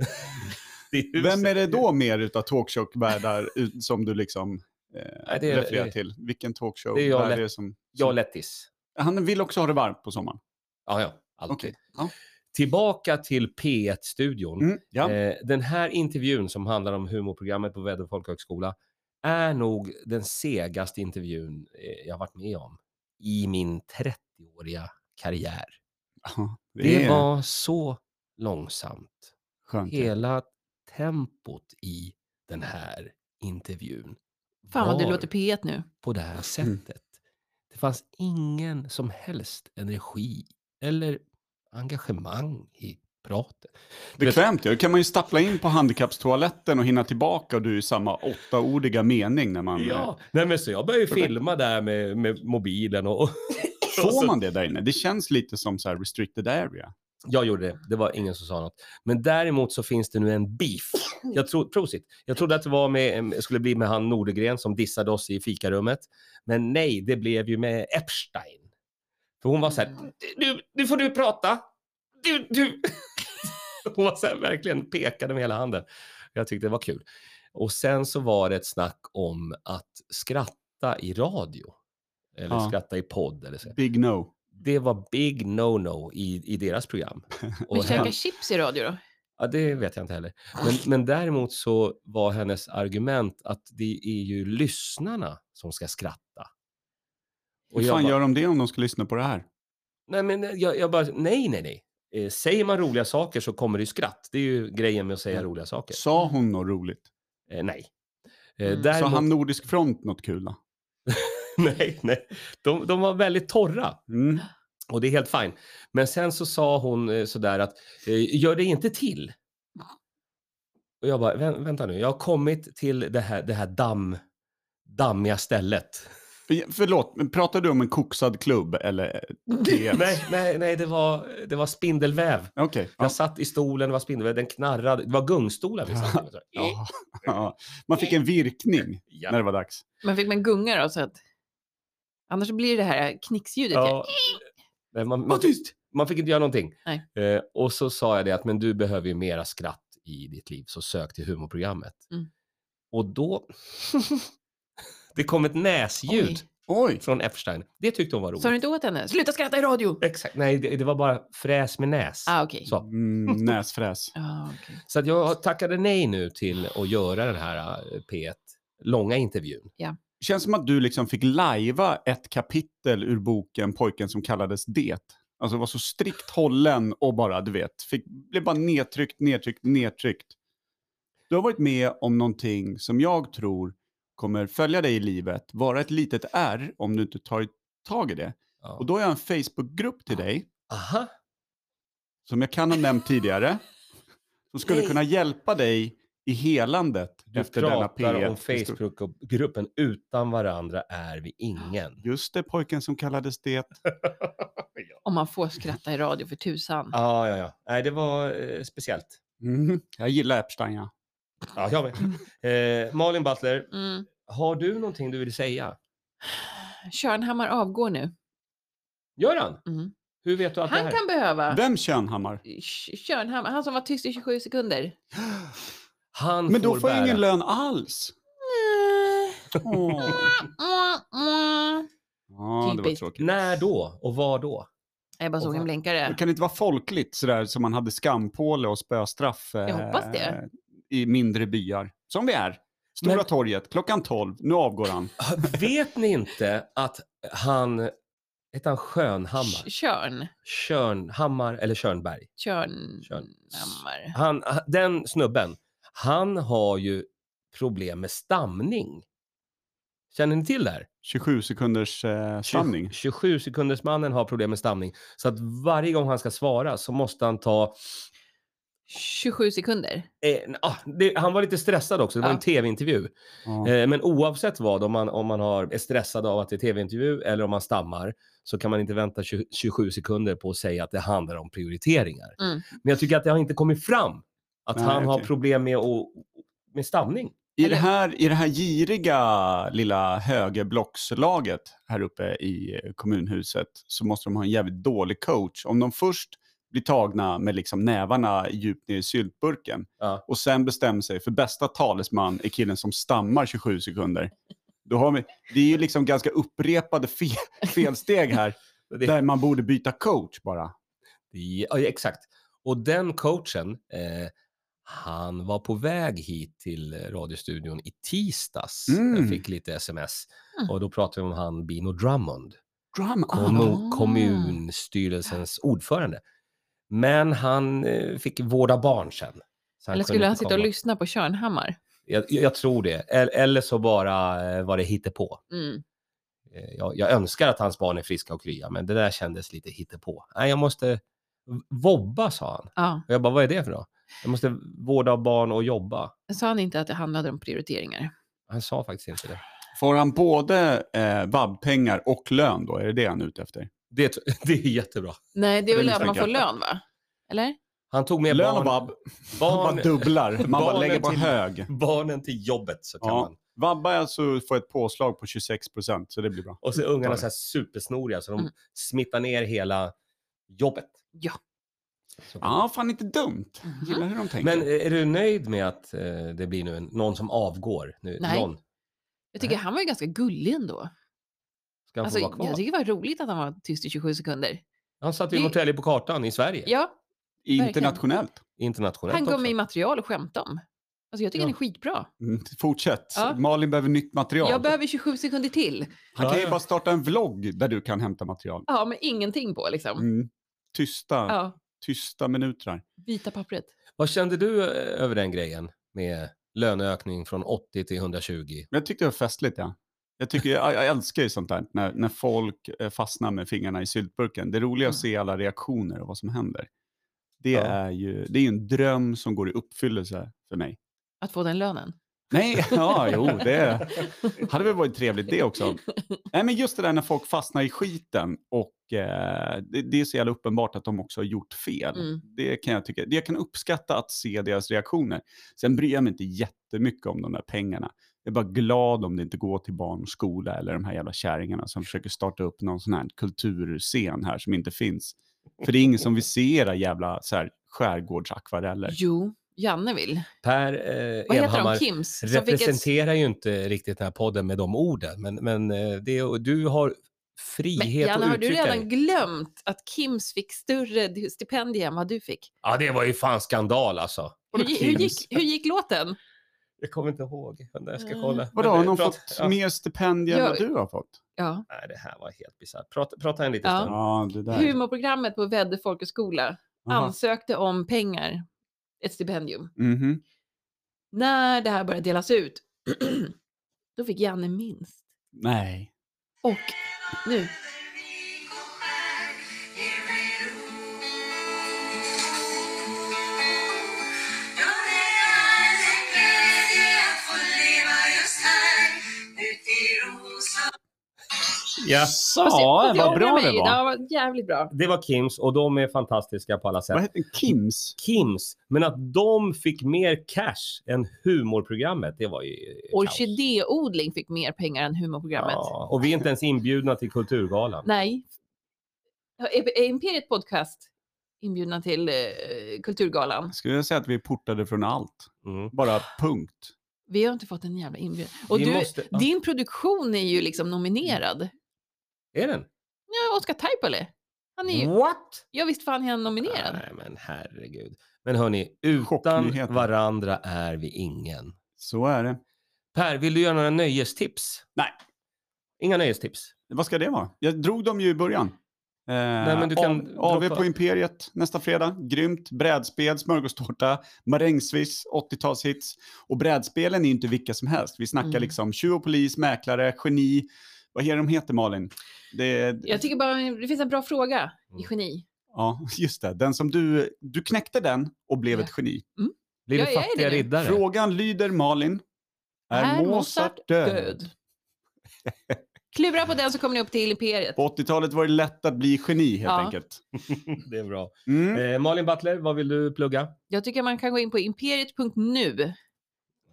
[SPEAKER 1] Det är huset.
[SPEAKER 2] Vem är det då mer
[SPEAKER 1] [LAUGHS]
[SPEAKER 2] utav talkshowvärdar ut- som du liksom eh,
[SPEAKER 1] Nej, det är-
[SPEAKER 2] refererar
[SPEAKER 1] det är-
[SPEAKER 2] till? Vilken talkshow
[SPEAKER 1] det är jag lätt-
[SPEAKER 2] är som...
[SPEAKER 1] Jag Lettis.
[SPEAKER 2] Han vill också ha det varmt på sommaren.
[SPEAKER 1] Ja, ja. Alltid.
[SPEAKER 2] Okej. Ja.
[SPEAKER 1] Tillbaka till P1-studion.
[SPEAKER 2] Mm, ja.
[SPEAKER 1] Eh, den här intervjun som handlar om humorprogrammet på Väddö folkhögskola är nog den segaste intervjun eh, jag har varit med om i min 30-åriga karriär.
[SPEAKER 2] [LAUGHS] Ja, det,
[SPEAKER 1] Det
[SPEAKER 2] är
[SPEAKER 1] var så långsamt.
[SPEAKER 2] skönt.
[SPEAKER 1] Hela tempot i den här intervjun
[SPEAKER 3] Fan vad du
[SPEAKER 1] var
[SPEAKER 3] låter P1 nu.
[SPEAKER 1] på det
[SPEAKER 2] Mm.
[SPEAKER 1] här sättet. Det fanns ingen som helst energi eller engagemang i pratet.
[SPEAKER 2] Bekvämt ju. Då kan man ju stappla in på handikappstoaletten och hinna tillbaka och du är i samma åttaordiga mening när man... eh,
[SPEAKER 1] Ja, nej men så jag började ju
[SPEAKER 2] Perfekt.
[SPEAKER 1] filma där med, med mobilen och...
[SPEAKER 2] [LAUGHS]
[SPEAKER 1] och
[SPEAKER 2] eh, Får man det där inne? Det känns lite som så här restricted area.
[SPEAKER 1] Jag gjorde det, det var ingen som sa något. Men däremot så finns det nu en beef. Jag, tro, prosit. jag trodde att det var med, em, skulle bli med han Nordegren som dissade oss i fikarummet. Men nej, det blev ju med Epstein. För hon var så här, nu, nu får du prata. Du, du. [LAUGHS] Hon var så här, verkligen pekade med hela handen. Jag tyckte det var kul. Och sen så var det ett snack om att skratta i radio. Eller
[SPEAKER 2] Ja.
[SPEAKER 1] skratta i podd eller så
[SPEAKER 2] Big no.
[SPEAKER 1] det var big no-no i, i deras
[SPEAKER 2] [LAUGHS]
[SPEAKER 1] program.
[SPEAKER 3] Men
[SPEAKER 1] Och
[SPEAKER 3] käka
[SPEAKER 1] hen-
[SPEAKER 3] chips i radio då?
[SPEAKER 1] [LAUGHS] ja, det vet jag inte heller. Men, men däremot så var hennes argument att det är ju lyssnarna som ska skratta.
[SPEAKER 2] Hur
[SPEAKER 1] jag
[SPEAKER 2] fan
[SPEAKER 1] bara,
[SPEAKER 2] gör de det om de ska lyssna på det här?
[SPEAKER 1] nej, men eh, jag, jag bara, nej, nej, nej. Eh, säger man roliga saker så kommer det ju skratt. Det är ju grejen med att säga
[SPEAKER 2] Mm.
[SPEAKER 1] roliga saker.
[SPEAKER 2] Sa hon något roligt?
[SPEAKER 1] Eh, nej. Eh,
[SPEAKER 3] Mm.
[SPEAKER 1] däremot,
[SPEAKER 2] Sa [LAUGHS] han Nordisk front något kul då?
[SPEAKER 1] nej, nej. De, de var väldigt torra.
[SPEAKER 2] Mm.
[SPEAKER 1] [GASPS] Och det är helt fint. Men sen så sa hon eh, sådär att eh, gör det inte till. Och jag bara, "Vä- vänta nu, jag har kommit till det här, det här damm, dammiga
[SPEAKER 2] [LAUGHS]
[SPEAKER 1] stället.
[SPEAKER 2] För- Förlåt, men pratar du om en koksad klubb eller? eh,
[SPEAKER 1] [LAUGHS]
[SPEAKER 2] Yes.
[SPEAKER 1] Nej, nej, nej, det var, det var spindelväv.
[SPEAKER 2] Okej.
[SPEAKER 1] Jag
[SPEAKER 2] ja.
[SPEAKER 1] satt i stolen, det var spindelväv, den knarrade. Det var gungstolar vi satt i. Så här,
[SPEAKER 2] Ja. [LAUGHS] Ja. Man fick en virkning
[SPEAKER 1] Ja.
[SPEAKER 2] när det var dags.
[SPEAKER 3] Men fick man gunga då? Så att... Annars blir det här knicksljudet.
[SPEAKER 1] Ja. Nej, man, man, fick, man fick inte göra någonting.
[SPEAKER 3] Nej.
[SPEAKER 1] Eh, och så sa jag det att men du behöver ju mera skratt i ditt liv, så sök till humorprogrammet.
[SPEAKER 3] Mm.
[SPEAKER 1] Och då... [LAUGHS] det kom ett näsljud
[SPEAKER 2] Oj!
[SPEAKER 1] från Epstein. Det tyckte hon var roligt.
[SPEAKER 3] Sa du inte åt henne? Sluta skratta i radio!
[SPEAKER 1] Exakt. Nej, det, det var bara fräs med näs.
[SPEAKER 3] Ah, okej.
[SPEAKER 1] Så.
[SPEAKER 2] Mm, näsfräs.
[SPEAKER 3] Ah, okej.
[SPEAKER 1] Så att jag tackade nej nu till att göra den här eh, P1, långa intervjun.
[SPEAKER 2] Känns som att du liksom fick lajva ett kapitel ur boken Pojken som kallades det. Alltså var så strikt hållen och bara, du vet, fick, blev bara nedtryckt, nedtryckt, nedtryckt. Du har varit med om någonting som jag tror kommer följa dig i livet, vara ett litet R om du inte tar tag i det.
[SPEAKER 1] Ja.
[SPEAKER 2] Och då har jag en Facebookgrupp till dig
[SPEAKER 1] Aha,
[SPEAKER 2] som jag kan ha nämnt tidigare, som skulle
[SPEAKER 3] Nej.
[SPEAKER 2] kunna hjälpa dig i helandet
[SPEAKER 1] du
[SPEAKER 2] efter denna
[SPEAKER 1] pratar
[SPEAKER 2] P1.
[SPEAKER 1] om Facebookgruppen Utan varandra är vi ingen.
[SPEAKER 2] Just det, pojken som kallades det.
[SPEAKER 3] Om man får skratta i radio för tusan.
[SPEAKER 1] Ja, ja, ja. Nej, det var eh, speciellt.
[SPEAKER 2] Mhm. Jag gillar Epstein, ja.
[SPEAKER 1] Ja, jag
[SPEAKER 3] [LAUGHS]
[SPEAKER 1] med. Eh, Malin Butler,
[SPEAKER 3] Mm.
[SPEAKER 1] har du någonting du vill säga?
[SPEAKER 3] Körnhammar avgår nu.
[SPEAKER 1] Gör han?
[SPEAKER 3] Mm.
[SPEAKER 1] Hur vet du att det
[SPEAKER 3] Han
[SPEAKER 1] här?
[SPEAKER 3] kan behöva...
[SPEAKER 2] Vem Tjörnhammar?
[SPEAKER 3] Sh- Körnhammar, han som var tyst i 27 sekunder.
[SPEAKER 1] Han
[SPEAKER 2] Men då får
[SPEAKER 1] bära.
[SPEAKER 2] jag ingen lön alls. Åh. Ja, det var
[SPEAKER 3] Typiskt.
[SPEAKER 2] tråkigt.
[SPEAKER 1] När då och var
[SPEAKER 2] [LAUGHS]
[SPEAKER 1] då?
[SPEAKER 3] Jag bara
[SPEAKER 1] Och
[SPEAKER 3] såg en
[SPEAKER 1] vad-
[SPEAKER 2] Det
[SPEAKER 3] blinkare.
[SPEAKER 2] kan inte vara folkligt sådär som man hade skampåle och spöstraff eh,
[SPEAKER 3] Jag hoppas det.
[SPEAKER 2] i mindre byar. Som vi är. Stora
[SPEAKER 1] Men-
[SPEAKER 2] torget, klockan 12. Nu avgår han.
[SPEAKER 1] Vet ni inte att han, heter han Skönhammar?
[SPEAKER 3] Sh- Körn.
[SPEAKER 1] Körnhammar eller Körnberg?
[SPEAKER 3] Körnhammar.
[SPEAKER 1] Han, den snubben, han har ju problem med stamning. Känner ni till det här?
[SPEAKER 2] 27 sekunders eh, stamning.
[SPEAKER 1] 27 sekundersmannen har problem med stamning. Så att varje gång han ska svara så måste han ta...
[SPEAKER 3] 27 sekunder.
[SPEAKER 1] Eh, ah, det, han var lite stressad också, det var
[SPEAKER 3] Ja.
[SPEAKER 1] en tv-intervju.
[SPEAKER 2] Ja.
[SPEAKER 1] Eh, men oavsett vad, om man, om man har, är stressad av att det är tv-intervju eller om man stammar så kan man inte vänta 20, 27 sekunder på att säga att det handlar om prioriteringar.
[SPEAKER 3] Mm.
[SPEAKER 1] Men jag tycker att det har inte kommit fram att
[SPEAKER 2] Nej,
[SPEAKER 1] han har
[SPEAKER 2] okej.
[SPEAKER 1] problem med, att, med stamning.
[SPEAKER 2] I
[SPEAKER 3] Eller-
[SPEAKER 2] det, här, I det här giriga lilla högerblockslaget här uppe i eh, kommunhuset så måste de ha en jävligt dålig coach. Om de först blir tagna med liksom nävarna djupt ner i syltburken
[SPEAKER 1] Ja.
[SPEAKER 2] och sen bestämmer sig för bästa talesman är killen som stammar 27 sekunder. Då har vi, det är ju liksom ganska upprepade fe, [LAUGHS] felsteg här
[SPEAKER 1] [LAUGHS] Det-
[SPEAKER 2] där man borde byta coach bara.
[SPEAKER 1] Ja, exakt. Och den coachen, eh, han var på väg hit till eh, radiostudion i tisdags.
[SPEAKER 2] Mm.
[SPEAKER 1] Jag fick lite sms.
[SPEAKER 3] Mm.
[SPEAKER 1] Och då pratade vi om han Bino Drummond,
[SPEAKER 2] Drum
[SPEAKER 1] kommun,
[SPEAKER 3] Ah.
[SPEAKER 1] kommunstyrelsens ordförande. Men han eh, fick vårda barn sen. Så
[SPEAKER 3] Eller
[SPEAKER 1] kunde
[SPEAKER 3] skulle
[SPEAKER 1] inte
[SPEAKER 3] han sitta och
[SPEAKER 1] komma.
[SPEAKER 3] lyssna på Körnhammar?
[SPEAKER 1] Jag, jag tror det. Eller, eller så bara eh, var det hittepå.
[SPEAKER 3] Mm.
[SPEAKER 1] Eh, Jag, jag önskar att hans barn är friska och krya, men det där kändes lite hittepå. Nej, jag måste... Vobba, sa han.
[SPEAKER 3] Ja.
[SPEAKER 1] Och jag bara, vad är det för då? Jag måste vårda barn och jobba.
[SPEAKER 3] Sa han inte att det handlade om prioriteringar?
[SPEAKER 1] Han sa faktiskt inte det.
[SPEAKER 2] Får han både eh, vab-pengar och lön då? Är det det han är ute efter?
[SPEAKER 1] Det, [LAUGHS] det är jättebra.
[SPEAKER 3] Nej, det är
[SPEAKER 2] Det
[SPEAKER 3] väl
[SPEAKER 2] är
[SPEAKER 3] att man får
[SPEAKER 2] misstankar.
[SPEAKER 3] lön, va? Eller?
[SPEAKER 1] Han tog med
[SPEAKER 2] Lön och
[SPEAKER 1] barn,
[SPEAKER 2] vab. Man bara [LAUGHS]
[SPEAKER 1] barn,
[SPEAKER 2] dubblar, man bara
[SPEAKER 1] barnen
[SPEAKER 2] lägger på
[SPEAKER 1] till-
[SPEAKER 2] hög.
[SPEAKER 1] [LAUGHS] barnen till jobbet så kan
[SPEAKER 2] Ja.
[SPEAKER 1] man.
[SPEAKER 2] Vabba är alltså får ett påslag på 26 procent, så det blir bra.
[SPEAKER 1] Och så är ungarna
[SPEAKER 2] Bara.
[SPEAKER 1] så här supersnoriga så de
[SPEAKER 3] Mm.
[SPEAKER 1] smittar ner hela jobbet.
[SPEAKER 3] Ja.
[SPEAKER 1] Så-
[SPEAKER 2] Ja, fan inte dumt.
[SPEAKER 3] Mhm.
[SPEAKER 2] Gillar hur de tänker.
[SPEAKER 1] Men eh, är du nöjd med att eh, det blir nu en, någon som avgår? Nu,
[SPEAKER 3] Nej.
[SPEAKER 1] Någon?
[SPEAKER 3] Jag tycker han var ju ganska gullig ändå.
[SPEAKER 1] Ska han
[SPEAKER 3] Alltså,
[SPEAKER 1] få vara
[SPEAKER 3] jag
[SPEAKER 1] kvar?
[SPEAKER 3] tycker det var roligt att han var tyst i 27 sekunder.
[SPEAKER 1] Han satte ju
[SPEAKER 3] det-
[SPEAKER 1] Norrtälje på kartan i Sverige.
[SPEAKER 3] Ja,
[SPEAKER 2] Internationellt.
[SPEAKER 1] Internationellt
[SPEAKER 3] han gav
[SPEAKER 1] också.
[SPEAKER 3] mig material att skämta om. Alltså, jag tycker
[SPEAKER 1] Ja.
[SPEAKER 3] han är skitbra.
[SPEAKER 2] Mm, Fortsätt.
[SPEAKER 3] Ja.
[SPEAKER 2] Malin behöver nytt material.
[SPEAKER 3] Jag behöver 27 sekunder till.
[SPEAKER 2] Han kan
[SPEAKER 1] Ja,
[SPEAKER 2] ju
[SPEAKER 1] ja.
[SPEAKER 2] bara starta en vlogg där du kan hämta material.
[SPEAKER 3] Ja, men ingenting på liksom.
[SPEAKER 2] Mm. Tysta,
[SPEAKER 3] Ja,
[SPEAKER 2] tysta minuter.
[SPEAKER 3] vita pappret.
[SPEAKER 1] Vad kände du eh, över den grejen med löneökning från 80 till 120?
[SPEAKER 2] Men jag tyckte det var festligt, ja. Jag, tycker, jag, jag älskar ju sånt där, när, när folk eh, fastnar med fingrarna i syltburken. Det är roligt att
[SPEAKER 3] Mm.
[SPEAKER 2] se alla reaktioner och vad som händer. Det
[SPEAKER 1] Ja.
[SPEAKER 2] är ju det är ju en dröm som går i uppfyllelse för mig.
[SPEAKER 3] Att få den lönen.
[SPEAKER 2] Nej, [LAUGHS] ja, jo, det
[SPEAKER 3] [LAUGHS]
[SPEAKER 2] hade väl varit trevligt det också. Nej, men just det där när folk fastnar i skiten och eh, det, det är så jävla uppenbart att de också har gjort fel.
[SPEAKER 3] Mm.
[SPEAKER 2] Det kan jag tycka. Jag kan uppskatta att se deras reaktioner. Sen bryr jag mig inte jättemycket om de där pengarna. Jag är bara glad om det inte går till barnskola eller de här jävla kärringarna som försöker starta upp någon sån här kulturscen här som inte finns. För det är ingen som vill se era jävla så här, skärgårdsakvareller.
[SPEAKER 3] Jo, Janne vill.
[SPEAKER 1] Per eh,
[SPEAKER 3] Vad heter
[SPEAKER 1] Evhammar
[SPEAKER 3] de? Kims? som fick ett-
[SPEAKER 1] representerar ju inte riktigt den här podden med de orden, men, men eh, det, du har
[SPEAKER 3] Men
[SPEAKER 1] frihet
[SPEAKER 3] Janne,
[SPEAKER 1] att
[SPEAKER 3] har du
[SPEAKER 1] uttrycka
[SPEAKER 3] redan
[SPEAKER 1] dig.
[SPEAKER 3] glömt att Kims fick större stipendier än vad du fick?
[SPEAKER 1] Ja, det var ju fan skandal alltså.
[SPEAKER 3] Hur,
[SPEAKER 2] Vadå
[SPEAKER 3] gi- hur,
[SPEAKER 2] Kims?
[SPEAKER 3] gick, hur gick låten?
[SPEAKER 1] Jag kommer inte ihåg. Jag ska
[SPEAKER 3] Mm.
[SPEAKER 1] kolla.
[SPEAKER 2] Vadå,
[SPEAKER 1] Men, eh,
[SPEAKER 2] har någon
[SPEAKER 1] prat-
[SPEAKER 2] fått
[SPEAKER 1] ja.
[SPEAKER 2] mer stipendier än
[SPEAKER 3] Jag-
[SPEAKER 2] vad du har fått?
[SPEAKER 3] Ja.
[SPEAKER 1] Nej, det här var helt bisarrt. Prata, prata en liten
[SPEAKER 3] Ja.
[SPEAKER 1] stund.
[SPEAKER 2] Ja, det där.
[SPEAKER 3] Humorprogrammet på Väddö folkhögskola
[SPEAKER 2] Aha.
[SPEAKER 3] ansökte om pengar, ett stipendium.
[SPEAKER 2] Mhm.
[SPEAKER 3] När det här började delas ut, [CLEARS THROAT] då fick Janne minst.
[SPEAKER 2] Nej.
[SPEAKER 3] Och nu,
[SPEAKER 1] Ja.
[SPEAKER 2] Så,
[SPEAKER 3] jag- jag
[SPEAKER 2] vad
[SPEAKER 3] ångrar
[SPEAKER 2] bra
[SPEAKER 3] mig.
[SPEAKER 2] det var.
[SPEAKER 3] var jävligt bra.
[SPEAKER 1] Det var Kims och de är fantastiska på alla sätt.
[SPEAKER 2] Vad hette Kims?
[SPEAKER 1] Kims, men att de fick mer cash än humorprogrammet, det var ju eh, kaos.
[SPEAKER 3] Orkidéodling fick mer pengar än humorprogrammet.
[SPEAKER 1] Ja, och vi är inte ens inbjudna till Kulturgalan.
[SPEAKER 3] Nej. Ja, Är är Imperiet Podcast inbjudna till eh, Kulturgalan?
[SPEAKER 2] Skulle jag säga att vi är portade från allt?
[SPEAKER 1] Mm.
[SPEAKER 2] Bara punkt.
[SPEAKER 3] Vi har inte fått en jävla inbjudan. Och
[SPEAKER 1] Vi
[SPEAKER 3] du,
[SPEAKER 1] måste- ja.
[SPEAKER 3] din produktion är ju liksom nominerad.
[SPEAKER 1] Är den?
[SPEAKER 3] Ja, Oscar Taipale. Han är ju,
[SPEAKER 1] Mm. What?
[SPEAKER 3] ja visst fan är han nominerad.
[SPEAKER 1] Nej, men herregud. Men hörni, utan
[SPEAKER 2] Chocknyheten.
[SPEAKER 1] varandra är vi ingen.
[SPEAKER 2] Så är det.
[SPEAKER 1] Per, vill du göra några nöjestips?
[SPEAKER 2] Nej.
[SPEAKER 1] Inga nöjestips?
[SPEAKER 2] Vad ska det vara? Jag drog dem ju i början. Eh, Nej,
[SPEAKER 1] men du kan
[SPEAKER 2] AV
[SPEAKER 1] droppa.
[SPEAKER 2] på Imperiet nästa fredag. Grymt. Brädspel, smörgåstårta, marängsviss, 80-talshits. Och brädspelen är ju inte vilka som helst. Vi snackar
[SPEAKER 3] Mm.
[SPEAKER 2] liksom tjuv och polis, mäklare, geni. Vad är de heter Malin? Det,
[SPEAKER 3] Jag tycker bara det finns en bra fråga
[SPEAKER 1] Mm.
[SPEAKER 3] i geni.
[SPEAKER 2] Ja, [LAUGHS] just det. Den som du, du knäckte den och blev
[SPEAKER 3] Ja.
[SPEAKER 2] ett geni.
[SPEAKER 1] Blir
[SPEAKER 3] Ja,
[SPEAKER 1] vi
[SPEAKER 3] jag är
[SPEAKER 1] fattiga
[SPEAKER 3] det.
[SPEAKER 1] riddare?
[SPEAKER 2] Frågan lyder Malin. Är, Mozart, död?
[SPEAKER 3] Klura på den så kommer ni upp till Imperiet.
[SPEAKER 2] På 80-talet var det lätt att bli geni helt
[SPEAKER 3] Ja.
[SPEAKER 2] enkelt.
[SPEAKER 1] Det är bra.
[SPEAKER 2] Mm.
[SPEAKER 1] Eh, Malin Butler, vad vill du plugga?
[SPEAKER 3] Jag tycker man kan gå in på imperiet.nu.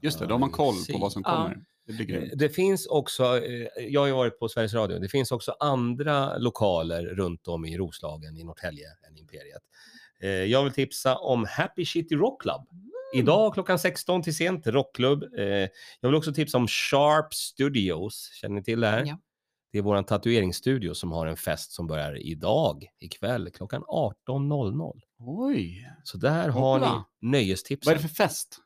[SPEAKER 2] Just det, då har man koll på vad som
[SPEAKER 3] Ja.
[SPEAKER 2] kommer. Det blir grymt.
[SPEAKER 1] Det finns också, eh, jag har ju varit på Sveriges Radio, det finns också andra lokaler runt om i Roslagen, i Norrtälje än Imperiet. Eh, Jag vill tipsa om Happy City Rock Club.
[SPEAKER 2] Mm.
[SPEAKER 1] Idag klockan 16 till sent, rockklubb. Eh, Jag vill också tipsa om Sharp Studios. Känner ni till det här?
[SPEAKER 3] Ja.
[SPEAKER 1] Det är vår tatueringsstudio som har en fest som börjar idag, ikväll, klockan 18.00.
[SPEAKER 2] Oj.
[SPEAKER 1] Så där har
[SPEAKER 2] Hoppla.
[SPEAKER 1] ni nöjestipsen.
[SPEAKER 2] Vad är det för fest?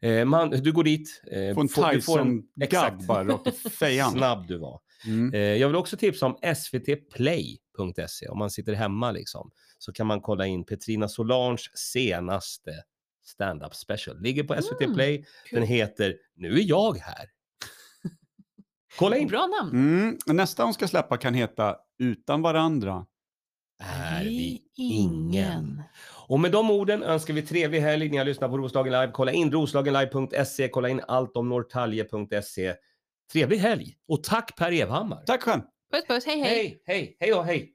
[SPEAKER 1] Eh, man, du går dit. eh,
[SPEAKER 2] Få en
[SPEAKER 1] får- du får en- exakt. [LAUGHS]
[SPEAKER 2] Tyson-gadd bara rakt i fejan.
[SPEAKER 1] Snabb du var.
[SPEAKER 2] Mm.
[SPEAKER 1] Eh, jag vill också tipsa om svtplay.se. E. Om man sitter hemma liksom, så kan man kolla in Petrina Solanges senaste stand-up special. Ligger på SVT
[SPEAKER 3] Mm,
[SPEAKER 1] Play. Den
[SPEAKER 3] kul.
[SPEAKER 1] heter Nu är jag här. Kolla in.
[SPEAKER 3] Bra namn.
[SPEAKER 2] Mm. Nästa hon ska släppa kan heta Utan varandra.
[SPEAKER 1] Är vi ingen. Och med de orden önskar vi trevlig helg. Ni har lyssnat på Roslagen Live. Kolla in roslagenlive.se. E. Kolla in allt om norrtalje.se. Trevlig E. helg och tack Per Evhammar.
[SPEAKER 2] Tack själv.
[SPEAKER 3] Puss puss, hej hej.
[SPEAKER 1] hej, hej, hej då, hej.